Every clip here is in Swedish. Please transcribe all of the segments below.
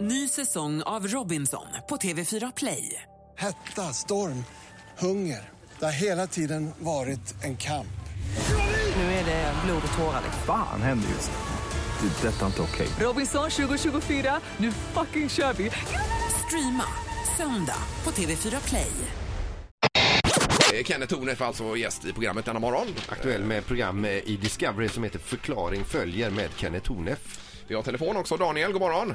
Ny säsong av Robinson på TV4 Play. Hetta, storm, hunger. Det har hela tiden varit en kamp. Nu är det blod och tårar. Fan händer just nu. Det. är Detta är inte okej. Robinson 2024, nu fucking kör vi! Streama söndag på TV4 Play. Eh, Kenneth Tornef alltså var gäst i programmet denna morgon. Aktuell med ett program eh, i Discovery som heter Förklaring följer med Kenneth Hornef. Vi har telefon också. Daniel, god morgon.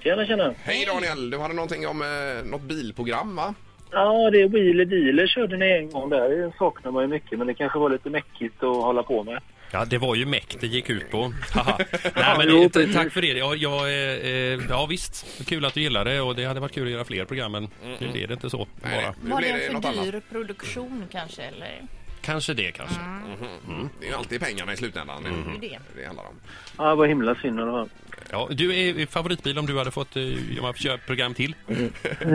Tjena, tjena. Hej Daniel! Du hade någonting om eh, något bilprogram va? Ja, det är Wheeler Dealer körde ni en gång där. Det saknar man ju mycket, men det kanske var lite mäckigt att hålla på med. Ja, det var ju mäkt det gick ut på. Haha. Nej, men det, t- tack för det. Ja, jag, eh, eh, ja, visst. Kul att du gillar det och det hade varit kul att göra fler program, men nu blev det inte så. Bara. nu Var det blir en något för annat. dyr produktion kanske eller? Kanske det, kanske. Det är ju alltid pengarna i slutändan. Mhm. Det, Det. det handlar om. Ja, det var himla synd om det var. Ja, du är favoritbil om du hade fått eh, göra ett program till. Eh,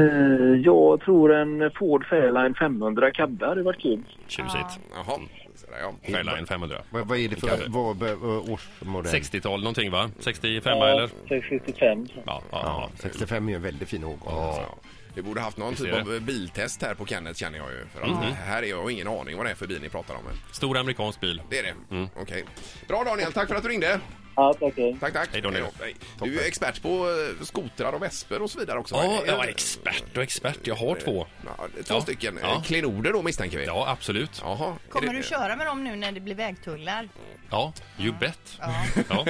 Jag tror en Ford Fairline 500 cabbe hade varit kul. Tjusigt. Jaha. Så där, ja. Fairline 500. Vad, vad är det för Kanske. vad, vad, vad, årsmodell? 60-tal någonting va? 65 Ja, eller? 675. Ja, ja, Ja, ja. 65 är ju en väldigt fin årgång. Alltså. Ja. Vi borde haft någon ser Mhm. typ av biltest här på Kenneth känner jag ju. För att här är jag har ingen aning vad det är för bil ni pratar om. Stor amerikansk bil. Det är det. Mm. Okej. Bra Daniel, tack för att du ringde. Ja, tackar. Tack, tack. Hej, Daniel. då. Hej. Du är ju expert på eh, skotrar och vesper och så vidare också. Ja, Är det- jag är expert och expert. Jag har två. Ja, två Ja. stycken. Eh, Ja. Klenoder då misstänker vi. Ja, absolut. Jaha. Är Kommer det- Mm. du köra med dem nu när det blir vägtullar? Ja, you bet. Ja. Ja.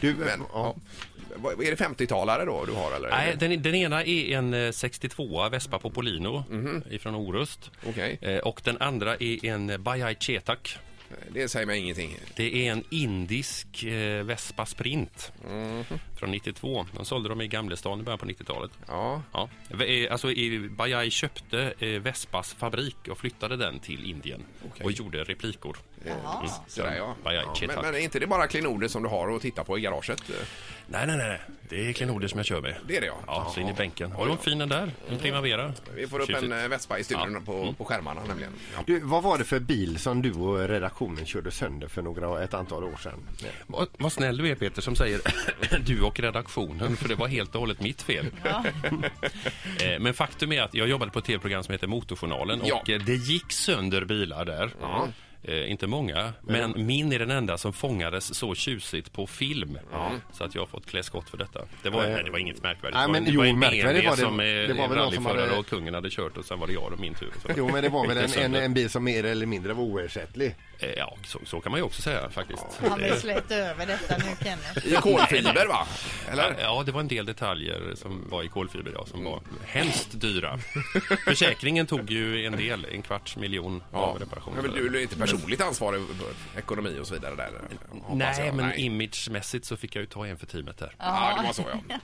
Du, Men, ja. ja. Vad- Är det 50-talare då du har eller? Nej, den, den ena är en eh, 62a Vespa Popolino ifrån Orust. Mhm. Okej. Eh, Och den andra är en eh, Bajaj Chetak. Det säger mig ingenting. Det är en indisk eh, Vespa Sprint Mhm. från 92. De sålde dem i Gamlestan i början på 90-talet. Ja. Ja. V- eh, Alltså, i- Bajaj köpte eh, Vespas fabrik och flyttade den till Indien Okej. och gjorde replikor. Mm. Jaha. Sådär, ja. Bajaj ja. Men, Chetak. men är inte det bara klenoder som du har att titta på i garaget? Nej, nej, nej. Det är klenoder som jag kör med. Det är det, ja. Ja, så in i bänken. Har du en fin den där? En Primavera? Vi får upp en Tjusigt. eh, Vespa i studion Ja. på, på skärmarna nämligen. Ja. du, vad var det för bil som du och redaktionen körde sönder för några, ett antal år sedan? Vad, vad snäll du är Peter som säger du och redaktionen för det var helt och hållet mitt fel. Eh, Men faktum är att jag jobbade på ett tv-program som heter Motorjournalen Ja. och eh, det gick sönder bilar där. Eh, inte många, men min är den enda som fångades så tjusigt på film. Så att jag har fått klä skott för detta. Det var, Eh, nej, det var inget märkvärdigt. nej, Det var men en- det var jo, en märkvärdigt BMW var det. som eh, Det var väl någon som rallyförare hade- och kungen hade kört och sen var det jag och min tur. Så. Jo, men det var väl Gick en, en, sönder. en bil som mer eller mindre var oersättlig. Eh, Ja, så, så kan man ju också säga faktiskt. Han Det- vill släta över detta nu Kenneth. I kolfiber va? Eller? Ja, det var en del detaljer som var i kolfiber, ja, som var hemskt dyra. Försäkringen tog ju en del, en kvarts miljon av reparationen. Men du är ju inte personligt ansvarig för ekonomi och så vidare där? hoppas Nej, jag. men Nej. imagemässigt så fick jag ju ta en för teamet där. Ja, det var så ja.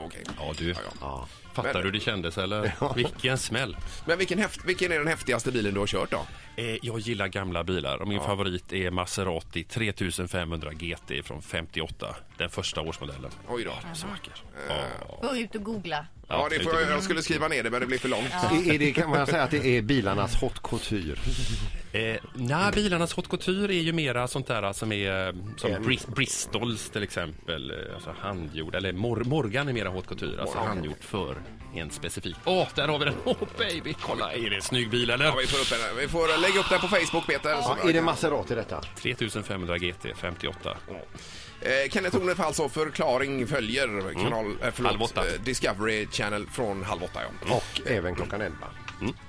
Okej. Ja, du. Ja. Fattar Men- du hur det kändes eller? Vilken smäll. Men vilken, häft, vilken är den häftigaste bilen du har kört då? Eh, jag gillar gamla bilar och min favorit är Maserati 3500 GT från 58. Den första årsmodellen. Oj då. Så vacker. Ja. Gå ut och googla. Ja, det får, jag jag skulle skriva ner det men det blir för långt. I, i det kan man säga att det är bilarnas hot couture. Eh, nej, bilarnas haute couture är ju mera sånt där som är eh, som Mm. Bris- Bristols till exempel, eh, alltså handgjord, eller Mor- Morgan är mera haute couture, alltså handgjort för en specifik. Åh, där har vi den! Åh baby, kolla! Är det en snygg bil eller? Ja, vi, får upp den. vi får eh, lägga upp den på Facebook Peter. Så- Ja, är det Maserati detta? 3500 GT 58. Eh, Kenneth Hornef alltså, förklaring följer kanal, eh, förlåt, Mm. Halv åtta. eh, Discovery Channel från halv åtta. Ja. Och även klockan 11.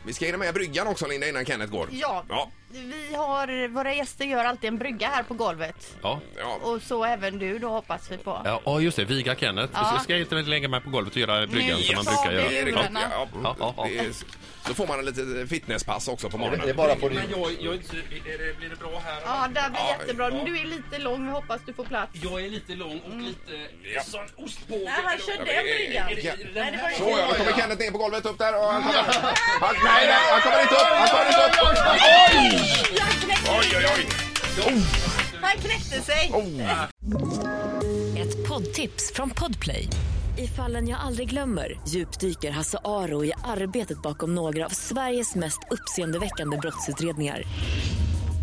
Vi ska hinna med bryggan också Linda innan Kenneth går. Ja, Ja, vi har, våra gäster gör alltid en brygga här på golvet. Ja. ja. Och så även du då hoppas vi på. Ja, ja, just det, viga Kenneth. Ja. Så ska jag inte lägga mig på golvet och göra bryggan Nej, som man yes. brukar Ja, det är göra. det. Ja. Ja, ja, Ja, ja, ja. det är- Så får man en litet fitnesspass också på morgonen. på din... blir det bra här? Ja, där blir jättebra. Men du är lite lång, vi hoppas du får plats. Jag är lite lång och Mm. lite sån ostbåge. Nej, han kör den bryggan. Nej, det var Så ja, då inte kommer Kenneth ner på golvet upp där och han kommer... Han, nej, nej, han kommer inte upp! Han kommer inte upp! Oj! Oj, oj, oj! Han knäckte sig. Ett poddtips från Podplay. I fallen jag aldrig glömmer djupdyker Hasse Aro i arbetet bakom några av Sveriges mest uppseendeväckande brottsutredningar.